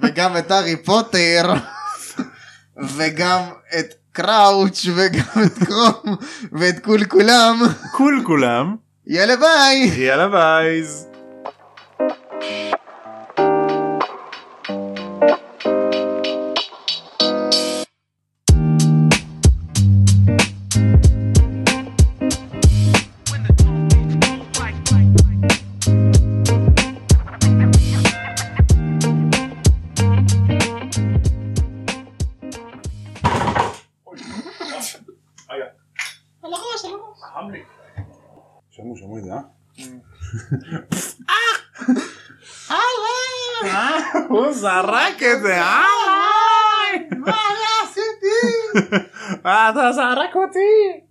S2: וגם את הארי פוטר וגם את קראוץ' וגם את קרום ואת כול כולם
S1: כול כולם
S2: יאללה ביי.
S1: יאללה בייז.
S3: על הראש, על הראש.
S4: שמעו, שמעו
S1: né?
S4: את זה, אה?
S1: הוא זרק את זה אה? ah!
S3: מה אני עשיתי?
S1: Ah, oh, אתה זרק אותי.